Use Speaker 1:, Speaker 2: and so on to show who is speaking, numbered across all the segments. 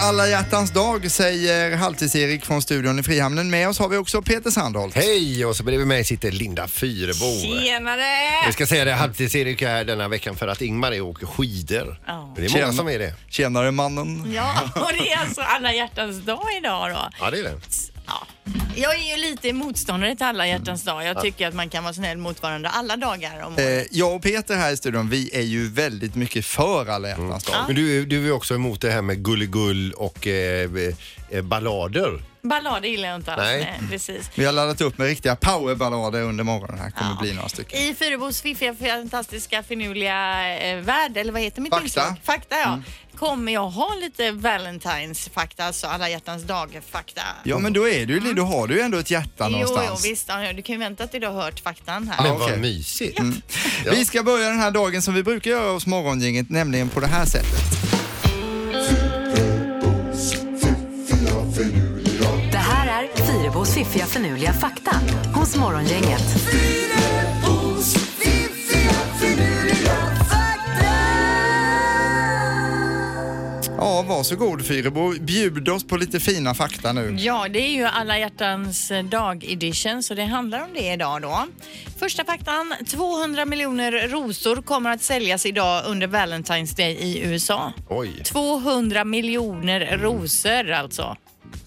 Speaker 1: alla hjärtans dag säger Halvtids-Erik från studion i Frihamnen. Med oss har vi också Peter Sandholt.
Speaker 2: Hej! Och så bredvid mig sitter Linda Fyrebo.
Speaker 3: Tjenare!
Speaker 2: Jag ska säga det, halvtids-Erik är här denna veckan för att Ingmar är och åker skidor.
Speaker 3: Ja.
Speaker 2: Men det är många som är det.
Speaker 1: Tjenare mannen.
Speaker 3: Ja, och det är alltså alla hjärtans dag idag då.
Speaker 2: Ja, det är det.
Speaker 3: Ja. Jag är ju lite motståndare till alla hjärtans dag. Jag tycker att man kan vara snäll mot varandra alla dagar. Om
Speaker 1: Eh, jag och Peter här i studion, vi är ju väldigt mycket för alla
Speaker 3: Mm.
Speaker 1: hjärtans dag.
Speaker 2: Men du, du är också emot det här med gulligull och eh, eh, ballader.
Speaker 3: Ballader gillar jag inte alls.
Speaker 2: Nej.
Speaker 3: Nej. precis.
Speaker 1: Vi har laddat upp med riktiga powerballader under morgonen. Här kommer
Speaker 3: Ja.
Speaker 1: bli några stycken.
Speaker 3: I Fyrebos fiffiga, fantastiska, finurliga eh, värld, eller vad heter mitt
Speaker 1: Fakta. Mm.
Speaker 3: inslag? Fakta, ja. Kommer jag ha lite Valentines-fakta, alltså alla hjärtans dag-fakta?
Speaker 1: Ja men då är du ju, då har du ju ändå ett hjärta
Speaker 3: Mm. Jo, jo,
Speaker 1: någonstans.
Speaker 3: visst. ja, Du kan ju vänta till du har hört faktan här.
Speaker 2: Men
Speaker 1: okej.
Speaker 2: vad mysigt. Ja.
Speaker 1: Vi ska börja den här dagen som vi brukar göra hos Morgongänget, nämligen på det här sättet.
Speaker 4: Det här är Fyrabos fiffiga förnuliga fakta hos Morgongänget.
Speaker 1: Ja, varsågod Fyrebo. Bjud oss på lite fina fakta nu.
Speaker 3: Ja, det är ju alla hjärtans eh, dag edition så det handlar om det idag då. Första faktan, 200 miljoner rosor kommer att säljas idag under Valentine's Day i USA.
Speaker 2: Oj,
Speaker 3: 200 miljoner rosor alltså.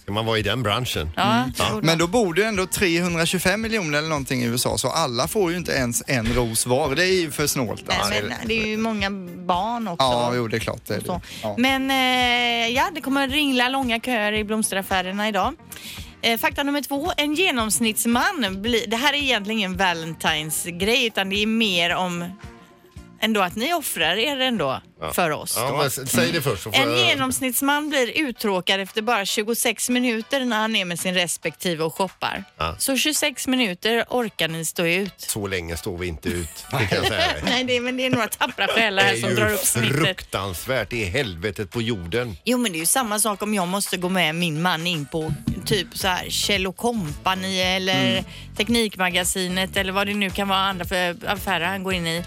Speaker 2: ska man vara i den branschen?
Speaker 3: Ja, tror det.
Speaker 1: Mm. Men då bor det ändå 325 miljoner eller någonting i USA så alla får ju inte ens en ros var. Det är ju för snålt. Alltså.
Speaker 3: Nej, men det är ju många barn också.
Speaker 1: Ja, jo det är klart. Det är det.
Speaker 3: Typ Så.
Speaker 1: Ja.
Speaker 3: Men eh, ja, det kommer att ringla långa köer i blomsteraffärerna idag. Eh, fakta nummer två. En genomsnittsman blir... Det här är egentligen ingen Valentine's-grej utan det är mer om ändå att ni offrar er ändå för oss.
Speaker 2: Ja,
Speaker 3: då.
Speaker 2: men s- säg det först. så får
Speaker 3: En
Speaker 2: jag-
Speaker 3: genomsnittsman blir uttråkad efter bara 26 minuter när han är med sin respektive och shoppar.
Speaker 2: Ja.
Speaker 3: Så 26 minuter orkar ni stå ut.
Speaker 2: Så länge står vi inte ut, det kan jag säga dig.
Speaker 3: Nej, det är, men det är några tappra själar
Speaker 2: Det
Speaker 3: här
Speaker 2: är
Speaker 3: som drar
Speaker 2: ju
Speaker 3: upp snittet.
Speaker 2: fruktansvärt. Det är helvetet på jorden.
Speaker 3: Jo men det är ju samma sak om jag måste gå med min man in på typ så här Kjell och Company eller Teknikmagasinet eller vad det nu kan vara andra för affärer han går in i.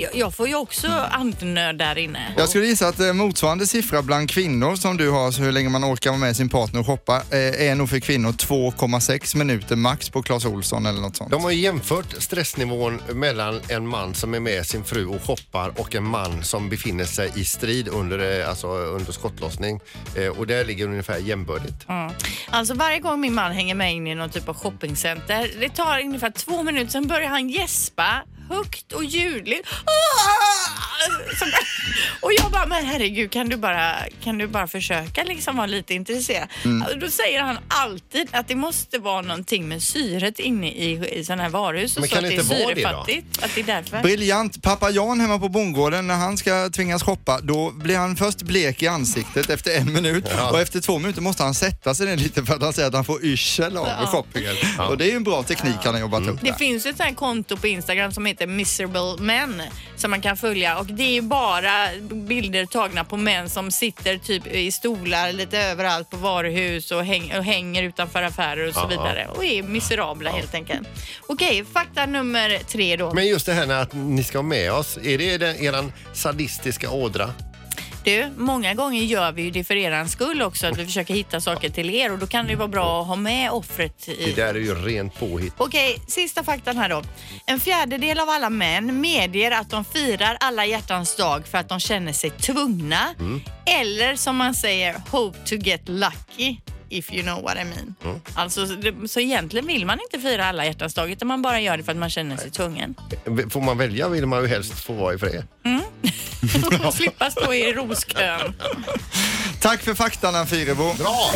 Speaker 3: Jag, jag får ju också andnöd där inne.
Speaker 1: Jag skulle gissa att eh, motsvarande siffra bland kvinnor som du har, så hur länge man orkar vara med sin partner och shoppa, eh, är nog för kvinnor 2,6 minuter max på Clas Olsson eller något sånt.
Speaker 2: De har ju jämfört stressnivån mellan en man som är med sin fru och shoppar och en man som befinner sig i strid under, eh, alltså, under skottlossning. Eh, och där ligger ungefär jämbördigt.
Speaker 3: Mm. Alltså varje gång min man hänger med in i någon typ av shoppingcenter, det tar ungefär två minuter, sen börjar han gäspa högt och ljudligt. Ah! Så där. Och jag bara, men herregud kan du bara, kan du bara försöka liksom vara lite intresserad?
Speaker 2: Mm.
Speaker 3: Alltså, Då säger han alltid att det måste vara någonting med syret inne i, i sådana här varus.
Speaker 2: Men
Speaker 3: så
Speaker 2: kan
Speaker 3: att
Speaker 2: det
Speaker 3: det är
Speaker 2: inte vara det då?
Speaker 3: syrefattigt. Att det är därför.
Speaker 1: Briljant! Pappa Jan hemma på bondgården, när han ska tvingas shoppa, då blir han först blek i ansiktet efter en minut och efter två minuter måste han sätta sig ner lite för att han säger att han får yrsel av shoppingen. Och det är ju en bra teknik han har jobbat upp
Speaker 3: Det
Speaker 1: där.
Speaker 3: finns ju ett sånt här konto på Instagram som heter Miserable Men som man kan följa och det är ju bara bilder tagna på män som sitter typ i stolar lite överallt på varuhus och, häng, och hänger utanför affärer och så
Speaker 2: Ja, ja.
Speaker 3: vidare och är miserabla helt enkelt. Okej, fakta nummer tre då.
Speaker 2: Men just det här med att ni ska ha med oss, är det den, eran sadistiska ådra?
Speaker 3: Du, många gånger gör vi ju det för er skull också att vi försöker hitta saker till er och då kan det ju vara bra att ha med offret i
Speaker 2: Det där är ju rent påhitt.
Speaker 3: Okej, sista faktan här då. En fjärdedel av alla män medger att de firar alla hjärtans dag för att de känner sig tvungna. Eller som man säger, hope to get lucky. If you know what I mean. Alltså, så det- så egentligen vill man inte fira alla hjärtans dag utan man bara gör det för att man känner sig tvungen.
Speaker 2: Får man välja vill man ju helst få vara i fred.
Speaker 3: Slippa stå i roskön.
Speaker 1: Tack för faktan Fyrebo.
Speaker 2: Bra!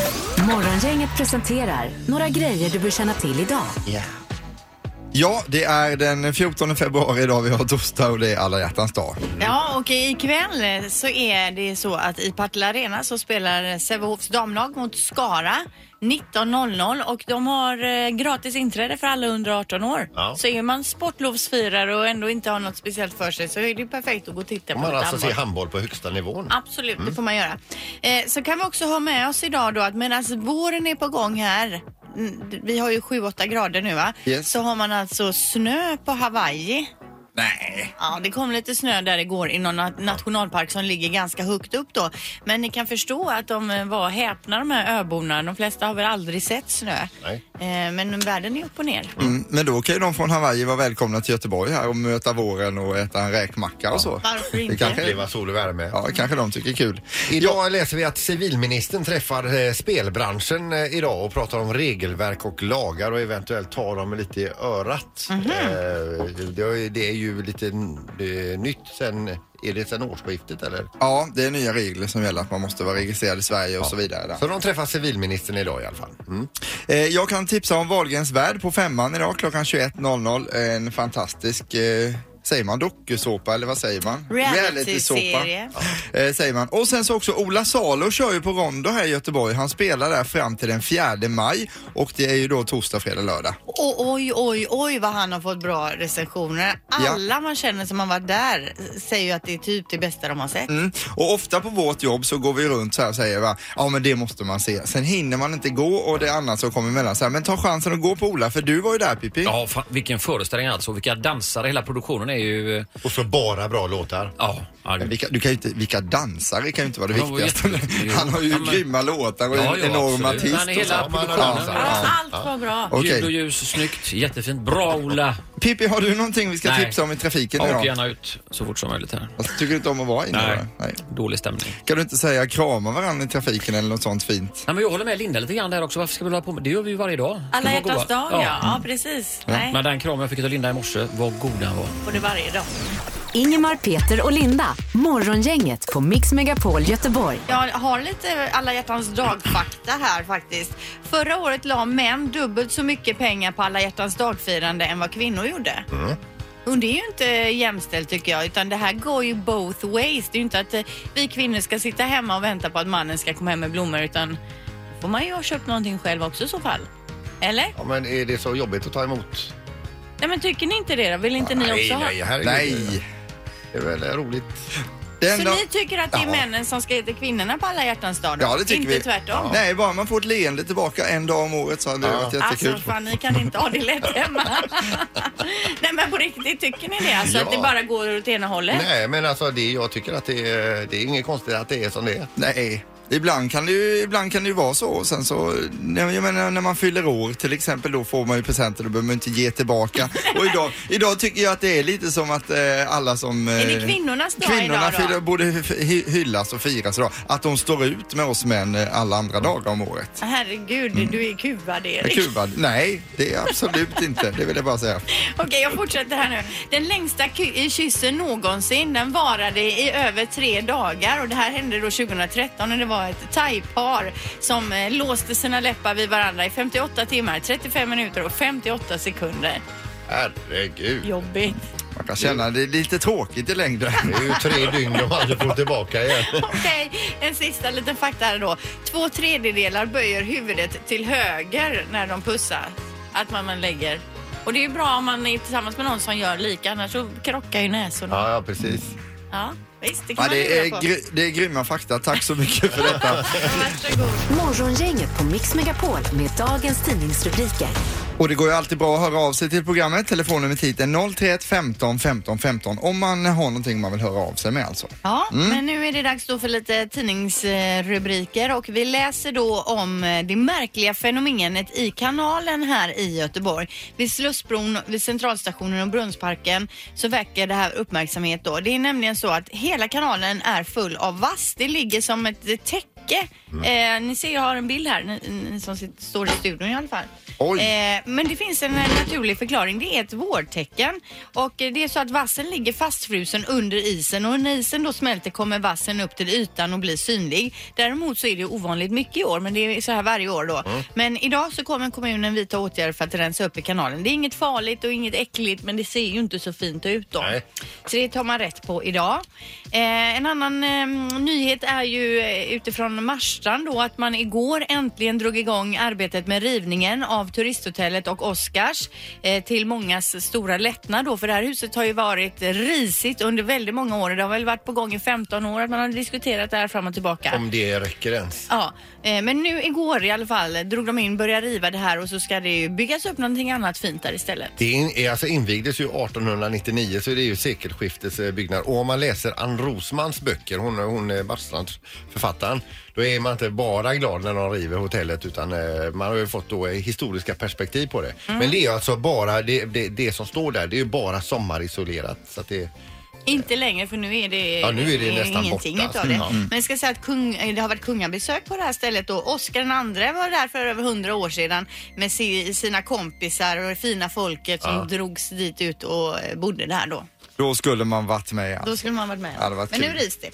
Speaker 4: Morgongänget presenterar några grejer du bör känna till idag.
Speaker 1: Ja, det är den 14 februari idag, vi har torsdag och det är alla hjärtans dag.
Speaker 2: Mm.
Speaker 3: Ja, och ikväll så är det så att i Partille Arena så spelar Sävehofs damlag mot Skara 19.00 och de har eh, gratis inträde för alla under 18 år.
Speaker 2: Ja.
Speaker 3: Så är man sportlovsfirare och ändå inte har något speciellt för sig så är det ju perfekt att gå och titta på
Speaker 2: Man
Speaker 3: lite
Speaker 2: alltså Mm. ser
Speaker 3: handboll.
Speaker 2: handboll på högsta nivån.
Speaker 3: Absolut, det får man göra. Eh, så kan vi också ha med oss idag då att medan våren är på gång här, mm, vi har ju 7-8 grader nu va?
Speaker 1: Yes.
Speaker 3: Så har man alltså snö på Hawaii.
Speaker 1: Nej.
Speaker 3: Ja, det kom lite snö där igår i någon na- nationalpark som ligger ganska högt upp då. Men ni kan förstå att de eh, var häpna de här öborna. De flesta har väl aldrig sett snö.
Speaker 2: Nej.
Speaker 3: Eh, Men världen är upp och ner.
Speaker 1: Mm, men då kan ju de från Hawaii vara välkomna till Göteborg här och möta våren och äta en räkmacka och så.
Speaker 3: Varför
Speaker 1: Det
Speaker 3: inte?
Speaker 1: kanske,
Speaker 2: Leva sol och värme.
Speaker 1: ja, kanske de tycker är kul.
Speaker 2: Idag läser vi att civilministern träffar eh, spelbranschen eh, idag och pratar om regelverk och lagar och eventuellt tar dem lite i örat. Eh, det, är- det är ju lite n- det är nytt sen, är det sen årsskiftet eller?
Speaker 1: Ja, det är nya regler som gäller att man måste vara registrerad i Sverige och så vidare. där.
Speaker 2: Så de träffar civilministern idag i alla fall. Mm.
Speaker 1: Eh, Jag kan tipsa om Wahlgrens värld på femman idag klockan 21.00. En fantastisk eh, Säger man dokusåpa eller vad säger man?
Speaker 3: Reality-serie.
Speaker 1: Ja. Eh, säger man. Och sen så också Ola Salo kör ju på Rondo här i Göteborg. Han spelar där fram till den 4 maj och det är ju då torsdag, fredag, lördag.
Speaker 3: Och oj, oj, oj vad han har fått bra recensioner.
Speaker 1: Ja.
Speaker 3: Alla man känner som har varit där säger ju att det är typ det bästa de har sett.
Speaker 1: Mm. Och ofta på vårt jobb så går vi runt så här och säger va, ja men det måste man se. Sen hinner man inte gå och det är annat som kommer emellan. Så här, men ta chansen att gå på Ola för du var ju där Pippi.
Speaker 5: Ja, fan, vilken föreställning alltså. Vilka dansare. Hela produktionen är ju... eh,
Speaker 2: Och så bara bra låtar.
Speaker 5: Ja, ja,
Speaker 1: Men Vilka, du kan ju inte, vilka dansare kan ju inte vara det
Speaker 5: De var
Speaker 1: viktigaste.
Speaker 5: jätte-
Speaker 1: Han har ju
Speaker 5: Ja, men-
Speaker 1: grymma låtar och
Speaker 5: Ja,
Speaker 1: en
Speaker 5: ja,
Speaker 1: enorm
Speaker 5: absolut.
Speaker 1: artist.
Speaker 5: Han är
Speaker 1: och så.
Speaker 5: hela
Speaker 1: Ja,
Speaker 5: produktionen.
Speaker 1: ja.
Speaker 3: Allt var bra.
Speaker 5: Ljud och
Speaker 1: Okej.
Speaker 5: ljus, snyggt, jättefint. Bra Ola!
Speaker 1: Pippi, har du någonting vi ska
Speaker 5: Nej.
Speaker 1: tipsa om i trafiken
Speaker 5: Ja, Åk
Speaker 1: idag?
Speaker 5: gärna ut så fort som möjligt här.
Speaker 1: Alltså, tycker du inte om att vara inne?
Speaker 5: Nej.
Speaker 1: va? Nej.
Speaker 5: Dålig stämning.
Speaker 1: Kan du inte säga krama varandra i trafiken eller något sånt fint?
Speaker 5: Nej, men jag håller med Linda lite grann där också. Varför ska vi hålla på med det? gör vi ju varje dag. Ska
Speaker 3: Alla
Speaker 5: vara
Speaker 3: hjärtans
Speaker 5: goda.
Speaker 3: dag, ja. ja precis. Nej,
Speaker 5: Men den kram jag fick av Linda i morse, vad god den var.
Speaker 3: på det varje dag.
Speaker 4: Ingemar, Peter och Linda. Morgongänget på Mix Megapol Göteborg.
Speaker 3: Jag har lite alla hjärtans dag-fakta här faktiskt. Förra året la män dubbelt så mycket pengar på alla hjärtans dagfirande än vad kvinnor gjorde.
Speaker 1: Mm.
Speaker 3: Och det är ju inte jämställt tycker jag, utan det här går ju both ways. Det är ju inte att eh, vi kvinnor ska sitta hemma och vänta på att mannen ska komma hem med blommor, utan då får man ju ha köpt någonting själv också i så fall. Eller?
Speaker 2: Ja, men är det så jobbigt att ta emot?
Speaker 3: Nej men tycker ni inte det då? Vill inte ni också
Speaker 2: nej,
Speaker 3: ha?
Speaker 2: nej, herregud.
Speaker 1: Nej!
Speaker 2: Det är väl roligt.
Speaker 1: Det
Speaker 3: Så
Speaker 1: enda-
Speaker 3: ni tycker att det är
Speaker 1: Ja.
Speaker 3: männen som ska ge till kvinnorna på alla hjärtans dag då?
Speaker 1: Ja, det tycker
Speaker 3: Inte
Speaker 1: vi.
Speaker 3: tvärtom?
Speaker 1: Nej, bara man får ett leende tillbaka en dag om året så hade det varit jättekul.
Speaker 3: Alltså fan, ni kan inte ha det lätt hemma. Nej men på riktigt, tycker ni det? Alltså
Speaker 2: Ja.
Speaker 3: att det bara går åt ena hållet?
Speaker 2: Nej, men alltså det, jag tycker att det är, det är inget konstigt att det är som det är.
Speaker 1: Nej. Ibland kan, det ju, ibland kan det ju vara så. Och Sen så, nej, jag menar, när man fyller år till exempel, då får man ju presenter, då behöver man inte ge tillbaka. Och idag, idag tycker jag att det är lite som att eh, alla som... Eh,
Speaker 3: Är det kvinnornas dag
Speaker 1: kvinnorna
Speaker 3: idag då?
Speaker 1: fyller, borde hy- hyllas och firas idag. Att de står ut med oss män eh, alla andra dagar om året.
Speaker 3: Herregud, du är kuvad Erik.
Speaker 1: Kuba, nej, det är absolut inte. Det vill jag bara säga.
Speaker 3: Okej, jag fortsätter här nu. Den längsta ky- i kyssen någonsin, den varade i över tre dagar och det här hände då 2013 när det var ett thaipar som eh, låste sina läppar vid varandra i 58 timmar, 35 minuter och 58 sekunder.
Speaker 2: Herregud.
Speaker 3: Jobbigt.
Speaker 1: Man kan känna det är lite tråkigt i längden.
Speaker 2: Det är ju tre dygn de aldrig får tillbaka igen.
Speaker 3: Okej, en sista liten fakta här då. Två tredjedelar böjer huvudet till höger när de pussar. Att man, man lägger. Och det är ju bra om man är tillsammans med någon som gör lika, annars så krockar ju näsorna. Ja,
Speaker 2: Ja, ja precis.
Speaker 3: visst, det kan
Speaker 1: Ja,
Speaker 3: man
Speaker 1: det, är
Speaker 3: lura på.
Speaker 1: gry- det är grymma fakta. Tack så mycket för detta.
Speaker 3: Varsågod.
Speaker 4: Morgongänget på Mix Megapol med dagens tidningsrubriker.
Speaker 1: Och det går ju alltid bra att höra av sig till programmet. Telefonnumret hit är 031 15 15 15 om man har någonting man vill höra av sig med alltså.
Speaker 3: Ja, men nu är det dags då för lite tidningsrubriker och vi läser då om eh, det märkliga fenomenet i kanalen här i Göteborg. Vid Slussbron, vid Centralstationen och Brunnsparken så väcker det här uppmärksamhet då. Det är nämligen så att hela kanalen är full av vass. Det ligger som ett täcke. Eh, ni ser, jag har en bild här, ni, ni som sitter, står i studion i alla fall.
Speaker 1: Oj.
Speaker 3: Eh, men det finns en eh, naturlig förklaring. Det är ett vårtecken. Och eh, det är så att vassen ligger fastfrusen under isen och när isen då smälter kommer vassen upp till ytan och blir synlig. Däremot så är det ovanligt mycket i år, men det är så här varje år då. Men idag så kommer kommunen vidta åtgärder för att rensa upp i kanalen. Det är inget farligt och inget äckligt, men det ser ju inte så fint ut då.
Speaker 2: Nej.
Speaker 3: Så det tar man rätt på idag. Eh, en annan eh, nyhet är ju eh, utifrån Marstrand då att man igår äntligen drog igång arbetet med rivningen av upp Turisthotellet och Oscars eh, till mångas stora lättnad då för det här huset har ju varit risigt under väldigt många år. Det har väl varit på gång i 15 år att man har diskuterat det här fram och tillbaka.
Speaker 2: Om det räcker ens.
Speaker 3: Ja, eh, men nu igår i alla fall drog de in, började riva det här och så ska det ju byggas upp någonting annat fint där istället.
Speaker 2: Det är in- är alltså invigdes ju 1899 så det är ju sekelskiftets eh, byggnad. Och om man läser Ann Rosmans böcker, hon, hon är Marstrand författaren, då är man inte bara glad när de river hotellet utan eh, man har ju fått då eh, historiska perspektiv på det.
Speaker 1: Mm.
Speaker 2: Men det är alltså bara det, det, det som står där, det är ju bara sommarisolerat. Så att det,
Speaker 3: Inte längre för nu är det, eh,
Speaker 2: Ja, nu är det nästan
Speaker 3: ingenting
Speaker 2: borta.
Speaker 3: utav det.
Speaker 2: Mm.
Speaker 3: Men jag ska säga att kung, eh, det har varit kungabesök på det här stället och Oscar den andre var där för över hundra år sedan med si- sina kompisar och det fina folket som drogs dit ut och eh, bodde där då.
Speaker 1: Då skulle man varit med.
Speaker 3: Då
Speaker 1: Alltså.
Speaker 3: skulle man varit med.
Speaker 1: Ja, det var
Speaker 3: Men nu
Speaker 1: kul.
Speaker 3: rivs det.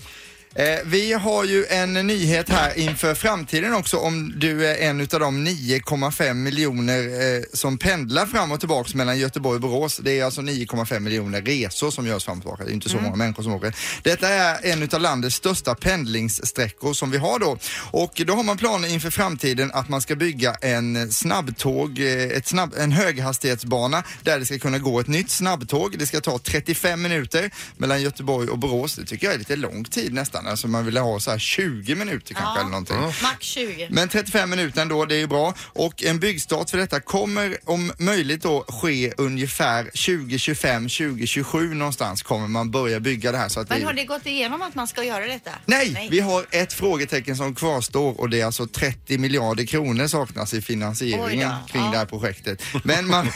Speaker 1: Eh, vi har ju en nyhet här inför framtiden också om du är en utav de 9,5 miljoner eh, som pendlar fram och tillbaks mellan Göteborg och Borås. Det är alltså 9,5 miljoner resor som görs fram och tillbaka. Det är inte så många människor som åker. Detta är en utav landets största pendlingssträckor som vi har då. Och då har man planer inför framtiden att man ska bygga en snabbtåg, eh, ett snabb, en höghastighetsbana där det ska kunna gå ett nytt snabbtåg. Det ska ta 35 minuter mellan Göteborg och Borås. Det tycker jag är lite lång tid nästan. Alltså man ville ha så här 20 minuter kanske eller någonting.
Speaker 3: Max 20.
Speaker 1: Men 35 minuter ändå, det är ju bra. Och en byggstart för detta kommer om möjligt då ske ungefär 2025, 2027 någonstans kommer man börja bygga det här. Så att
Speaker 3: Men
Speaker 1: det...
Speaker 3: har det gått igenom att man ska göra detta?
Speaker 1: Nej, vi har ett frågetecken som kvarstår och det är alltså 30 miljarder kronor saknas i finansieringen
Speaker 3: Oj då,
Speaker 1: kring
Speaker 3: ja.
Speaker 1: det här projektet. Men man,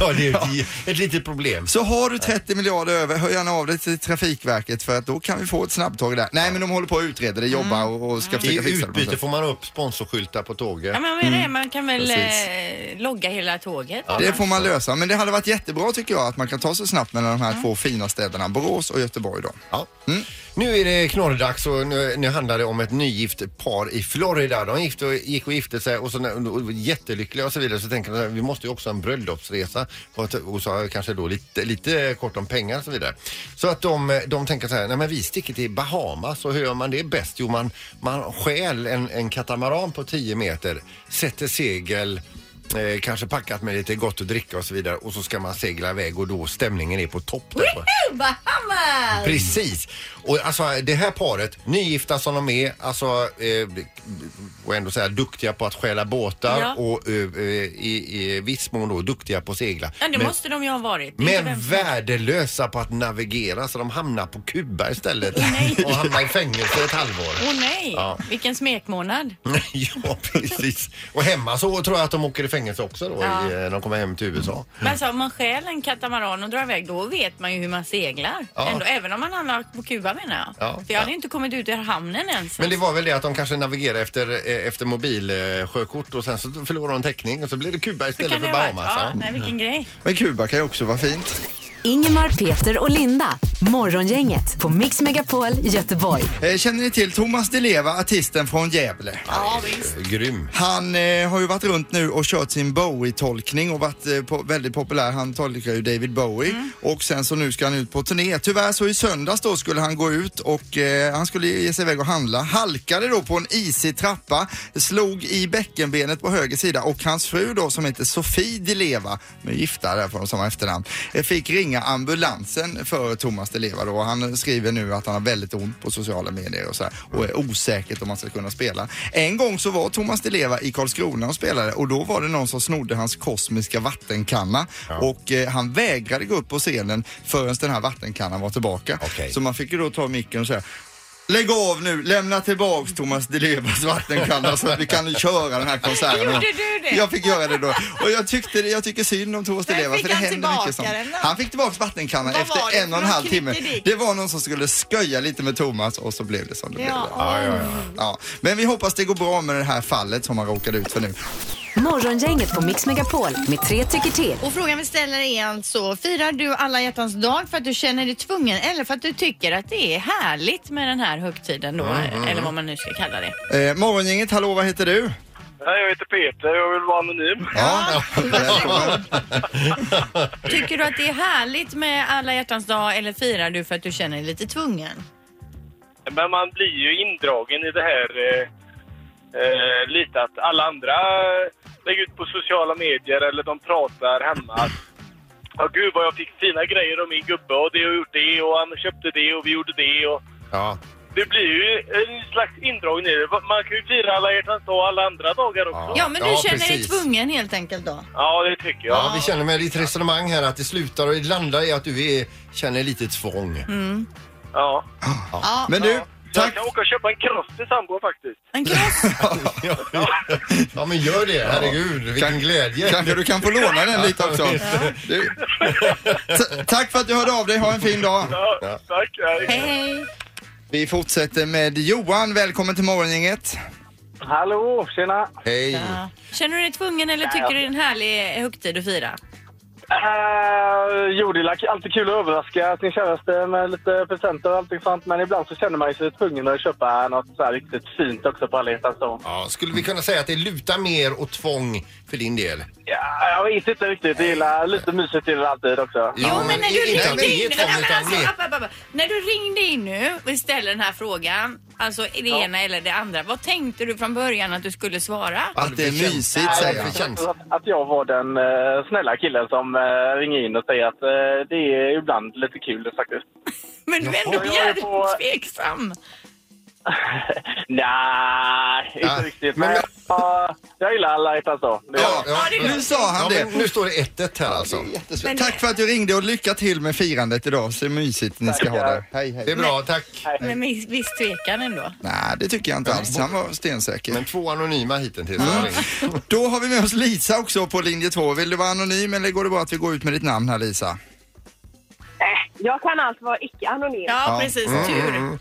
Speaker 2: ja, det är ju ett, ett litet problem.
Speaker 1: så har du 30 miljarder över, hör gärna av dig till Trafikverket för att då kan vi få ett snabbtåg där. Nej, men de håller på att utreda det, jobbar och, och ska
Speaker 2: I
Speaker 1: försöka fixa det. på något
Speaker 2: utbyte
Speaker 1: sätt.
Speaker 2: får man upp sponsorskyltar på tåget.
Speaker 3: Ja, men vad är det? Man kan väl
Speaker 1: Precis.
Speaker 3: eh, logga hela tåget?
Speaker 1: Det får man lösa, men det hade varit jättebra tycker jag att man kan ta sig snabbt mellan de här två fina städerna, Borås och Göteborg då.
Speaker 2: Ja. Mm. Nu är det knorrdags och nu, nu handlar det om ett nygift par i Florida. De gift och, gick och gifte sig och, så, när- och var jättelyckliga och så vidare. Så tänker de så här, vi måste ju också ha en bröllopsresa och, t- och så har jag kanske då lite, lite kort om pengar och så vidare. Så att de, de tänker så här, nej men vi sticker till Bahamas och hur gör man det bäst? Jo, man, man stjäl en, en katamaran på 10 meter, sätter segel Eh, kanske packat med lite gott att dricka och så vidare och så ska man segla iväg och då stämningen är på topp. Där på.
Speaker 3: Bahamas!
Speaker 2: Precis. Och alltså det här paret, nygifta som de är, alltså eh, och ändå säga duktiga på att stjäla båtar
Speaker 3: Ja.
Speaker 2: och eh, eh, i, i viss mån då duktiga på att segla.
Speaker 3: Ja, det
Speaker 2: men,
Speaker 3: måste de ju ha varit. Det är inte
Speaker 2: men
Speaker 3: vem som helst.
Speaker 2: värdelösa på att navigera så de hamnar på Kuba istället och hamnar i fängelse ett halvår.
Speaker 3: Åh nej,
Speaker 2: Ja.
Speaker 3: vilken smekmånad.
Speaker 2: ja, precis. Och hemma så tror jag att de åker i fängelse också då
Speaker 3: Ja.
Speaker 2: i, när de kommer hem till USA.
Speaker 3: Men så om man stjäl en katamaran och drar iväg då vet man ju hur man seglar.
Speaker 2: Ja.
Speaker 3: Ändå, även om man hamnar på Kuba menar jag.
Speaker 2: Ja.
Speaker 3: För jag hade inte kommit ut ur hamnen ens.
Speaker 2: Men det var väl det att de kanske navigerar efter, eh, efter mobilsjökort och sen så förlorar de täckning och så blir det Kuba
Speaker 3: Hur
Speaker 2: istället för
Speaker 3: det ha varit?
Speaker 2: Bahamas.
Speaker 3: Ja,
Speaker 2: va?
Speaker 3: nej, vilken grej.
Speaker 1: Men Kuba kan ju också vara fint.
Speaker 4: Ingemar, Peter och Linda. Morgongänget på Mix Megapol Göteborg.
Speaker 1: Eh, Känner ni till Thomas Di Leva, artisten från Gävle?
Speaker 3: Ja, visst.
Speaker 2: Grym.
Speaker 1: Han eh, har ju varit runt nu och kört sin Bowie-tolkning och varit eh, po- väldigt populär. Han tolkar ju David Bowie och sen så nu ska han ut på turné. Tyvärr så i söndags då skulle han gå ut och eh, han skulle ge sig iväg och handla. Halkade då på en isig trappa, slog i bäckenbenet på höger sida och hans fru då som heter Sofie Di Leva, de är gifta därför de samma efternamn, eh, fick ringa ambulansen för Thomas Di Leva då. Han skriver nu att han har väldigt ont på sociala medier och så här och är osäkert om han ska kunna spela. En gång så var Thomas Di Leva i Karlskrona och spelade och då var det någon som snodde hans kosmiska vattenkanna och eh, han vägrade gå upp på scenen förrän den här vattenkannan var tillbaka.
Speaker 2: Okej.
Speaker 1: Så man fick ju då ta micken och säga Lägg av nu, lämna tillbaks Thomas Di Levas vattenkanna så att vi kan köra den här konserten.
Speaker 3: Gjorde du det?
Speaker 1: Jag fick göra det då. Och jag, tyckte, jag tycker synd om Thomas Di
Speaker 3: Men
Speaker 1: Leva
Speaker 3: fick
Speaker 1: för det
Speaker 3: han
Speaker 1: händer mycket sånt.
Speaker 3: tillbaka den då?
Speaker 1: Han fick tillbaks vattenkannan
Speaker 3: Vad
Speaker 1: efter
Speaker 3: var det
Speaker 1: en och en
Speaker 3: för
Speaker 1: halv timme.
Speaker 3: kritik?
Speaker 1: Det var någon som skulle sköja lite med Thomas och så blev det som det blev.
Speaker 3: Ja.
Speaker 1: där. Ja. Men vi hoppas det går bra med det här fallet som han råkade ut för nu.
Speaker 4: Morgongänget på Mix Megapol med tre tycker till.
Speaker 3: Och frågan vi ställer är alltså, firar du alla hjärtans dag för att du känner dig tvungen eller för att du tycker att det är härligt med den här högtiden då,
Speaker 2: Mm,
Speaker 3: eller vad man nu ska kalla det?
Speaker 1: Eh, morgongänget, hallå vad heter du?
Speaker 6: Hej, jag heter Peter jag vill vara anonym.
Speaker 1: Ja, välkommen.
Speaker 3: Tycker du att det är härligt med alla hjärtans dag eller firar du för att du känner dig lite tvungen?
Speaker 6: Men man blir ju indragen i det här eh, eh, lite att alla andra lägger ut på sociala medier eller de pratar hemma. att, Ja, gud vad jag fick fina grejer av min gubbe och det och gjort det och han köpte det och vi gjorde det och
Speaker 2: Ja,
Speaker 6: det blir ju en slags indragning i det. Man kan ju fira alla hjärtans dag och alla andra dagar också.
Speaker 2: Ja.
Speaker 6: Ja,
Speaker 3: Ja, men du
Speaker 2: Ja,
Speaker 3: känner
Speaker 2: precis.
Speaker 3: dig tvungen helt enkelt då?
Speaker 6: det tycker jag.
Speaker 2: ja, vi känner med ditt resonemang här att det slutar och det landar i att du är, känner lite tvång.
Speaker 3: Mm.
Speaker 6: Ja.
Speaker 3: Ja.
Speaker 1: Men du,
Speaker 6: Jag
Speaker 1: tack.
Speaker 6: kan åka och köpa en kross till sambon faktiskt.
Speaker 3: En kross?
Speaker 2: Ja. ja, men gör det. Herregud, vilken glädje.
Speaker 1: Kanske du kan få låna den lite också. Du. T- Tack för att du hörde av dig. Ha en fin dag.
Speaker 6: Ja, tack. Hej.
Speaker 3: Hej, hej.
Speaker 1: Vi fortsätter med Johan. Välkommen till morgongänget.
Speaker 6: Hallå, tjena!
Speaker 2: Hej.
Speaker 3: Ja. Känner du dig tvungen eller tycker du det är en härlig högtid att fira?
Speaker 6: Uh, jo, det är lack- alltid kul att överraska sin käraste med lite presenter och allting sånt. Men ibland så känner man ju sig tvungen att köpa något så här riktigt fint också på alla hjärtans dag.
Speaker 2: Ja, skulle vi kunna säga att det lutar mer åt tvång för din del?
Speaker 6: Ja, jag vet inte riktigt. Jag gillar lite mysigt till det alltid också.
Speaker 2: Ja,
Speaker 3: jo, men när du
Speaker 2: inte att
Speaker 3: ringde
Speaker 2: det
Speaker 3: in...
Speaker 2: är
Speaker 3: Men,
Speaker 2: tvång,
Speaker 3: men,
Speaker 2: utan
Speaker 3: alltså,
Speaker 2: mer-
Speaker 3: app, app, app, app. När du ringde in nu och ställde den här frågan, alltså det ena eller det andra, vad tänkte du från början att du skulle svara?
Speaker 1: Att det är mysigt,
Speaker 2: Ja,
Speaker 1: säger
Speaker 2: det
Speaker 1: han.
Speaker 2: känns-
Speaker 6: Eh, Jag tror Att, att jag var den eh, snälla killen som eh, ringer in och säger att eh, det är ibland lite kul faktiskt.
Speaker 3: Men du är ändå
Speaker 6: Jag är på-
Speaker 3: jävligt tveksam.
Speaker 6: Nej, inte
Speaker 2: Nej,
Speaker 6: riktigt.
Speaker 2: men-
Speaker 6: Men, jag, jag gillar alla hjärtans dag. Det gör jag.
Speaker 1: Ja, nu sa han
Speaker 2: Ja,
Speaker 1: det.
Speaker 2: men nu står det 1-1 här alltså.
Speaker 1: Jättespännande. Tack för att du ringde och lycka till med firandet idag. Så mysigt ni ska ha det. Hej,
Speaker 2: Det är
Speaker 1: hej.
Speaker 2: bra, tack.
Speaker 3: Men med viss tvekan ändå.
Speaker 1: Nej, det tycker jag inte alls. Han var stensäker.
Speaker 2: Men två anonyma hittills. Mm.
Speaker 1: Då har vi med oss Lisa också på linje 2. Vill du vara anonym eller går det bra att vi går ut med ditt namn här Lisa?
Speaker 7: Jag kan alltså vara icke-anonym.
Speaker 3: Ja, precis. Tur.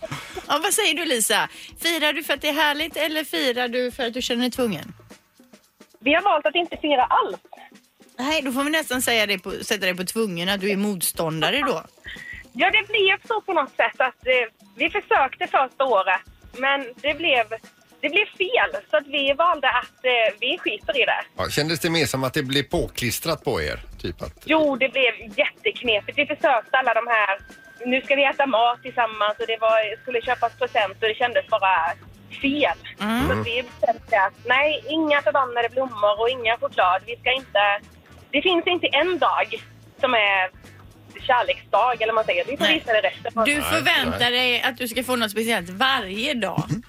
Speaker 3: Ja, vad säger du Lisa? Firar du för att det är härligt eller firar du för att du känner dig tvungen?
Speaker 7: Vi har valt att inte fira alls.
Speaker 3: Nej, då får vi nästan säga det på, sätta dig på tvungen att du är motståndare då.
Speaker 7: Ja, det blev så på något sätt att eh, vi försökte första året, men det blev, det blev fel. Så att vi valde att eh, vi skiter i det.
Speaker 2: Ja, kändes det mer som att det blev påklistrat på er? Typ att...
Speaker 7: Jo, det blev jätteknepigt. Vi försökte alla de här, nu ska vi äta mat tillsammans och det var, skulle köpas present och det kändes bara fel.
Speaker 3: Mm.
Speaker 7: Så att vi bestämde att nej, inga förbannade blommor och inga choklad. Vi ska inte, det finns inte en dag som är kärleksdag eller vad man säger. Vi får
Speaker 3: Nej.
Speaker 7: visa det resten av
Speaker 3: Du
Speaker 2: Nej,
Speaker 3: förväntar
Speaker 2: nej.
Speaker 3: dig att du ska få något speciellt varje dag.
Speaker 2: Mhm.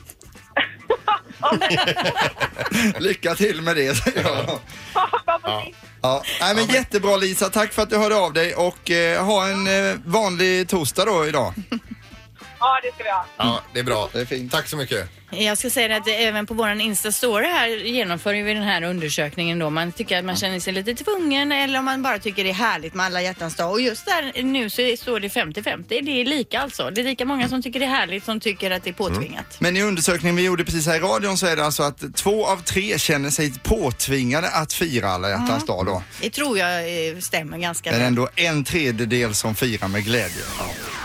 Speaker 1: Lycka till med det säger jag.
Speaker 7: Ja, precis.
Speaker 1: Ja, nej, men jättebra Lisa. Tack för att du hörde av dig och eh, ha en eh, vanlig torsdag då idag.
Speaker 7: ja, det ska vi ha.
Speaker 2: Ja, det är bra.
Speaker 1: Det är fint.
Speaker 2: Tack så mycket.
Speaker 3: Jag ska säga det att även på våran Insta-story här genomför vi den här undersökningen då. Man tycker att man känner sig lite tvungen eller om man bara tycker det är härligt med alla hjärtans dag. Och just där nu så står det 50-50. Det är lika alltså. Det är lika många som tycker det är härligt som tycker att det är
Speaker 2: Mm.
Speaker 3: påtvingat.
Speaker 1: Men i undersökningen vi gjorde precis här i radion så är det alltså att två av tre känner sig påtvingade att fira alla hjärtans dag då.
Speaker 3: Det tror jag eh, stämmer ganska
Speaker 1: Men
Speaker 3: bra.
Speaker 1: ändå en tredjedel som firar med glädje.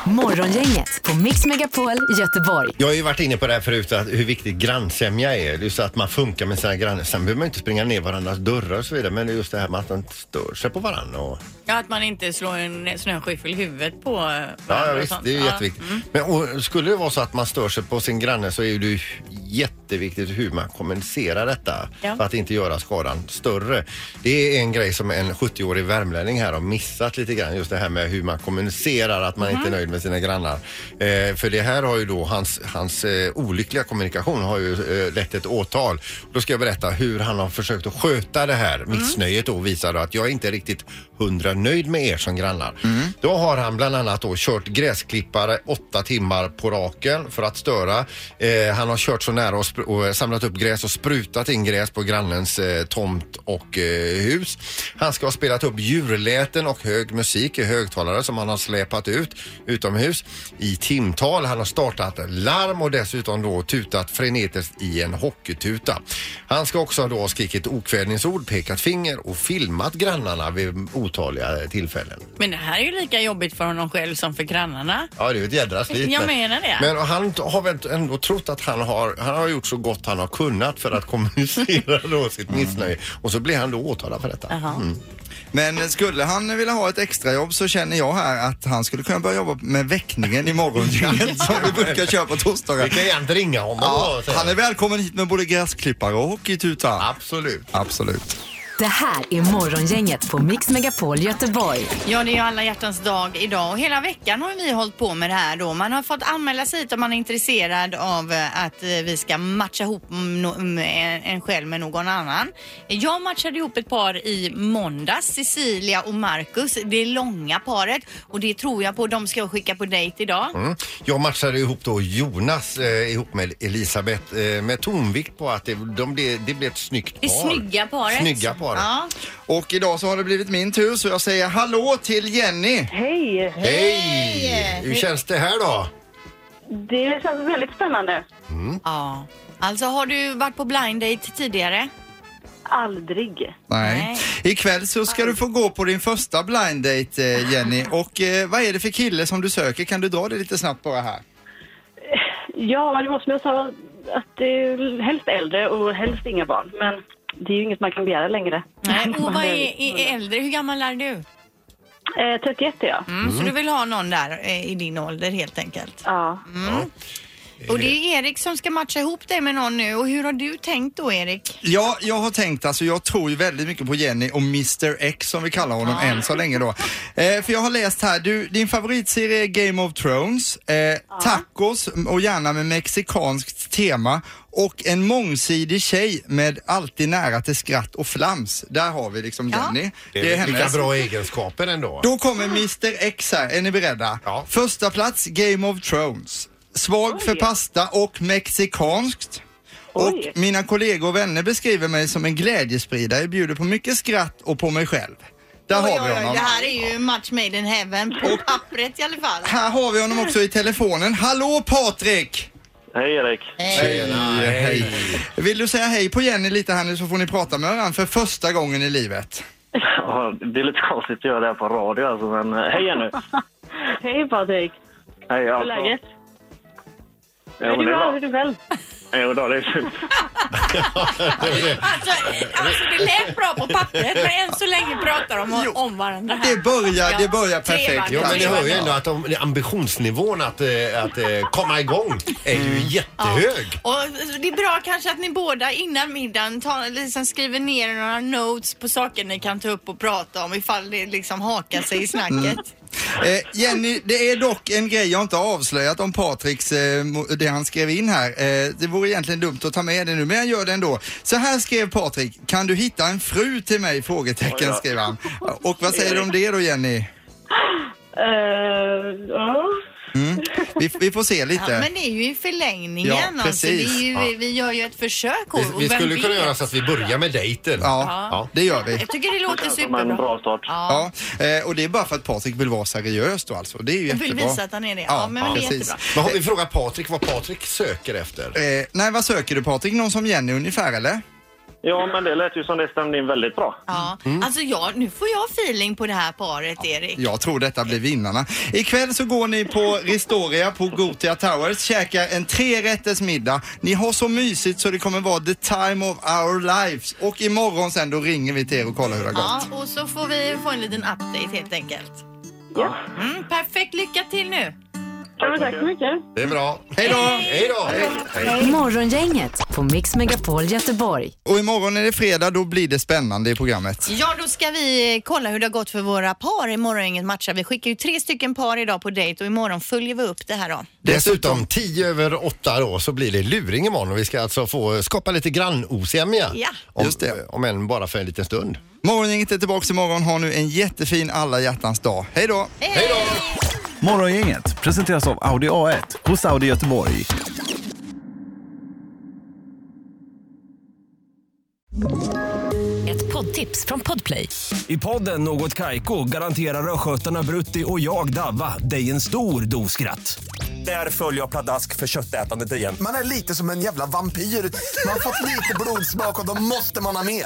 Speaker 4: Morgongänget på Mix Megapol Göteborg.
Speaker 2: Jag har ju varit inne på det här förut, att hur viktigt grannsämja är. Just att man funkar med sina grannar. Sen behöver man inte springa ner varandras dörrar och så vidare. Men det är just det här med att man inte stör sig på varandra. Och...
Speaker 3: Ja, att man inte slår en snöskyffel i huvudet på eh, varandra
Speaker 2: Ja, ja,
Speaker 3: och
Speaker 2: visst,
Speaker 3: sånt.
Speaker 2: det är ju
Speaker 3: Ja.
Speaker 2: jätteviktigt. Men och, skulle det vara så att man stör sig på sin granne så är ju det ju jätteviktigt hur man kommunicerar detta
Speaker 3: Ja.
Speaker 2: för att inte göra skadan större. Det är en grej som en 70-årig värmlänning här har missat lite grann, just det här med hur man kommunicerar att man inte är nöjd med sina grannar. Eh, för det här har ju då hans, hans eh, olyckliga kommunikation har ju eh, lett ett åtal. Då ska jag berätta hur han har försökt att sköta det här missnöjet och visar då att jag är inte riktigt hundra nöjd med er som grannar. Då har han bland annat då kört gräsklippare åtta timmar på raken för att störa. Eh, han har kört så nära och, spr- och eh, samlat upp gräs och sprutat in gräs på grannens eh, tomt och eh, hus. Han ska ha spelat upp djurläten och hög musik i högtalare som han har släpat ut utomhus i timtal. Han har startat larm och dessutom då tutat frenetiskt i en hockeytuta. Han ska också då ha skrikit okvädningsord, pekat finger och filmat grannarna vid otaliga tillfällen.
Speaker 3: Men det här är ju lika jobbigt för honom själv som för grannarna.
Speaker 2: Ja, det är ju ett jädra slit.
Speaker 3: Jag menar det.
Speaker 2: Men han har väl ändå trott att han har, han har gjort så gott han har kunnat för att kommunicera då sitt missnöje. Och så blir han då åtalad för detta.
Speaker 3: Jaha.
Speaker 1: Men skulle han vilja ha ett extrajobb så känner jag här att han skulle kunna börja jobba med väckningen i morgongänget som vi brukar köra på
Speaker 2: Vi
Speaker 1: torsdagar.
Speaker 2: kan egentligen ringa honom
Speaker 1: Ja,
Speaker 2: då.
Speaker 1: han är välkommen hit med både gräsklippare och hockeytuta.
Speaker 2: Absolut.
Speaker 1: Absolut.
Speaker 4: Det här är Morgongänget på Mix Megapol Göteborg.
Speaker 3: Ja, det är ju alla hjärtans dag idag och hela veckan har vi hållit på med det här då. Man har fått anmäla sig hit om man är intresserad av eh, att eh, vi ska matcha ihop mm, no- mm, en- en själv med någon annan. Jag matchade ihop ett par i måndags, Cecilia och Marcus, det långa paret och det tror jag på. De ska jag skicka på dejt idag.
Speaker 2: Mm. Jag matchade ihop då Jonas eh, ihop med Elisabeth eh, med tonvikt på att det, de blev, det blev ett snyggt par.
Speaker 3: Det snygga paret.
Speaker 2: Snygga paret.
Speaker 3: Ja.
Speaker 1: Och idag så har det blivit min tur så jag säger hallå till Jenny.
Speaker 7: Hej!
Speaker 2: Hej! Hur känns det här då?
Speaker 7: Det känns väldigt spännande.
Speaker 3: ja. Alltså har du varit på blind date tidigare?
Speaker 7: Aldrig.
Speaker 1: Nej. Ikväll så ska du få gå på din första blind date eh, Jenny. Och eh, vad är det för kille som du söker? Kan du dra det lite snabbt bara här?
Speaker 7: Ja, det var som jag sa, att det är helst äldre och helst inga barn. Men det är ju inget man kan begära längre.
Speaker 3: Nej. Och vad är, är är äldre? Hur gammal är du?
Speaker 7: Eh, 31 är jag.
Speaker 3: Mm, Så du vill ha någon där eh, i din ålder helt enkelt?
Speaker 7: Ja.
Speaker 3: Och det är Erik som ska matcha ihop dig med någon nu. Och hur har du tänkt då Erik?
Speaker 1: Ja, jag har tänkt alltså, jag tror ju väldigt mycket på Jenny och Mr X som vi kallar honom än så länge då. Eh, för jag har läst här, du, din favoritserie är Game of Thrones, eh, tacos och gärna med mexikanskt tema och en mångsidig tjej med alltid nära till skratt och flams. Där har vi liksom
Speaker 3: Ja.
Speaker 1: Jenny.
Speaker 2: Det är, vilka bra egenskaper ändå.
Speaker 1: Då kommer Mr X här, är ni beredda?
Speaker 2: Ja.
Speaker 1: Första plats Game of Thrones. Svag för pasta och mexikanskt.
Speaker 7: Oj.
Speaker 1: Och mina kollegor och vänner beskriver mig som en glädjespridare, bjuder på mycket skratt och på mig själv. Där har vi honom.
Speaker 3: Det här är ju match made in heaven på pappret i alla fall.
Speaker 1: Här har vi honom också i telefonen. Hallå Patrik!
Speaker 6: Hej Erik!
Speaker 1: Hej. Vill du säga hej på Jenny lite här nu så får ni prata med varandra för första gången i livet.
Speaker 6: Ja, det är lite konstigt att göra det här på radio alltså, men eh, hej nu.
Speaker 7: Hej Patrik!
Speaker 6: Hej,
Speaker 7: Hur är
Speaker 6: alltså.
Speaker 7: läget?
Speaker 6: Jo,
Speaker 7: är
Speaker 6: det
Speaker 7: du
Speaker 6: är
Speaker 7: bra? Hur
Speaker 6: bra.
Speaker 7: är du själv?
Speaker 6: Jo, då, det är fint.
Speaker 3: Alltså, alltså det lät bra på pappret men än så länge pratar de
Speaker 1: Jo.
Speaker 3: om varandra här.
Speaker 1: Det börjar, det börjar
Speaker 3: Tre
Speaker 1: perfekt.
Speaker 3: varv.
Speaker 2: Jo, men ni hör ju
Speaker 3: Ja.
Speaker 2: ändå att de, ambitionsnivån att, eh, att eh, komma igång är ju jättehög.
Speaker 3: Och det är bra kanske att ni båda innan middagen tar, liksom skriver ner några notes på saker ni kan ta upp och prata om ifall det liksom hakar sig i snacket.
Speaker 1: Eh, Jenny, det är dock en grej jag inte har avslöjat om Patriks, eh, mo- det han skrev in här. Eh, det vore egentligen dumt att ta med det nu, men jag gör det ändå. Så här skrev Patrik, kan du hitta en fru till mig?
Speaker 6: Oj
Speaker 1: Frågetecken
Speaker 6: då.
Speaker 1: skrev han. Och vad säger du om det då Jenny?
Speaker 7: Eh, ja.
Speaker 1: Vi, vi får se lite.
Speaker 3: Ja, men det är ju i förlängningen.
Speaker 1: Ja,
Speaker 3: alltså, det
Speaker 1: precis.
Speaker 3: är ju, vi, vi gör ju ett försök. Och,
Speaker 2: Vi,
Speaker 3: och
Speaker 2: vi
Speaker 3: vem
Speaker 2: skulle kunna
Speaker 3: vet?
Speaker 2: göra så att vi börjar med dejten.
Speaker 1: Ja,
Speaker 2: Ja.
Speaker 1: det gör vi.
Speaker 3: Jag tycker det låter
Speaker 6: Som en
Speaker 3: superbra.
Speaker 6: bra start.
Speaker 3: Ja.
Speaker 1: Ja, eh, och det är bara för att Patrik vill vara seriös då alltså. Det är ju
Speaker 3: Och vill
Speaker 1: jättebra.
Speaker 3: visa att han är det. Ja, men det är jättebra.
Speaker 2: Men har vi frågat Patrik vad Patrik söker efter?
Speaker 1: Eh, nej, vad söker du Patrik? Någon som Jenny ungefär eller?
Speaker 6: Ja, men det lät ju som det stämde in väldigt bra.
Speaker 3: Ja. Alltså jag, nu får jag feeling på det här paret Erik.
Speaker 1: Jag tror detta blir vinnarna. Ikväll så går ni på Ristoria på Gotia Towers, käkar en trerätters middag. Ni har så mysigt så det kommer vara the time of our lives. Och imorgon sen då ringer vi till er och kollar hur det har
Speaker 3: Ja,
Speaker 1: gått.
Speaker 3: och så får vi få en liten update helt enkelt. Mm, perfekt, lycka till nu!
Speaker 7: Ja, men tack så mycket.
Speaker 2: Det är bra.
Speaker 1: Hej då!
Speaker 2: Hej då!
Speaker 4: Morgongänget på Mix Megapol Göteborg.
Speaker 1: Och imorgon är det fredag, då blir det spännande i programmet.
Speaker 3: Ja, då ska vi eh, kolla hur det har gått för våra par i morgongänget matchar. Vi skickar ju tre stycken par idag på dejt och imorgon följer vi upp det här då.
Speaker 2: Dessutom 10 över 8 då så blir det luring imorgon och vi ska alltså få skapa lite grannosämja.
Speaker 3: Ja.
Speaker 2: Om,
Speaker 1: Just det.
Speaker 2: om än bara för en liten stund.
Speaker 1: Morgongänget är tillbaka imorgon. Ha nu en jättefin alla hjärtans dag. Hej då!
Speaker 2: Hej då!
Speaker 8: Morgongänget presenteras av Audi A1 hos Audi Göteborg.
Speaker 4: Ett poddtips från Podplay.
Speaker 9: I podden Något Kaiko garanterar östgötarna Brutti och jag, Davva, dig en stor dos skratt. Där följer jag pladask för köttätandet igen.
Speaker 10: Man är lite som en jävla vampyr. Man har fått lite blodsmak och då måste man ha mer.